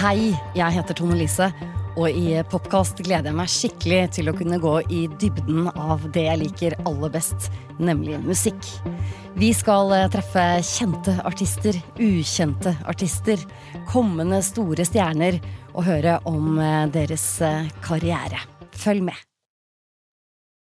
Hei, jeg heter Tone Lise, og i Popkast gleder jeg meg skikkelig til å kunne gå i dybden av det jeg liker aller best, nemlig musikk. Vi skal eh, treffe kjente artister, ukjente artister, kommende store stjerner og høre om eh, deres eh, karriere. Følg med.